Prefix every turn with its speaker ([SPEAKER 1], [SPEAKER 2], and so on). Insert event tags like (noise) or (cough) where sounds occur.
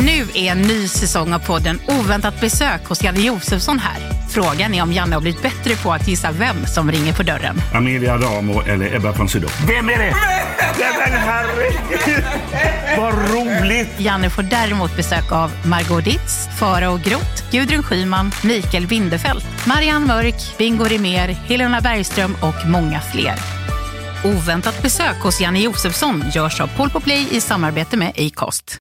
[SPEAKER 1] Nu är en ny säsong av podden Oväntat besök hos Janne Josefsson här. Frågan är om Janne har blivit bättre på att gissa vem som ringer på dörren.
[SPEAKER 2] Amelia Ramo eller Ebba von Sydow. Vem är det? Nej men herregud! (laughs) Vad roligt!
[SPEAKER 1] Janne får däremot besök av Margot Ditz, Farao Groth, Gudrun Schyman, Mikael Winderfelt, Marianne Mörk, Bingo Rimér, Helena Bergström och många fler. Oväntat besök hos Janne Josefsson görs av Paul på Play i samarbete med Acast.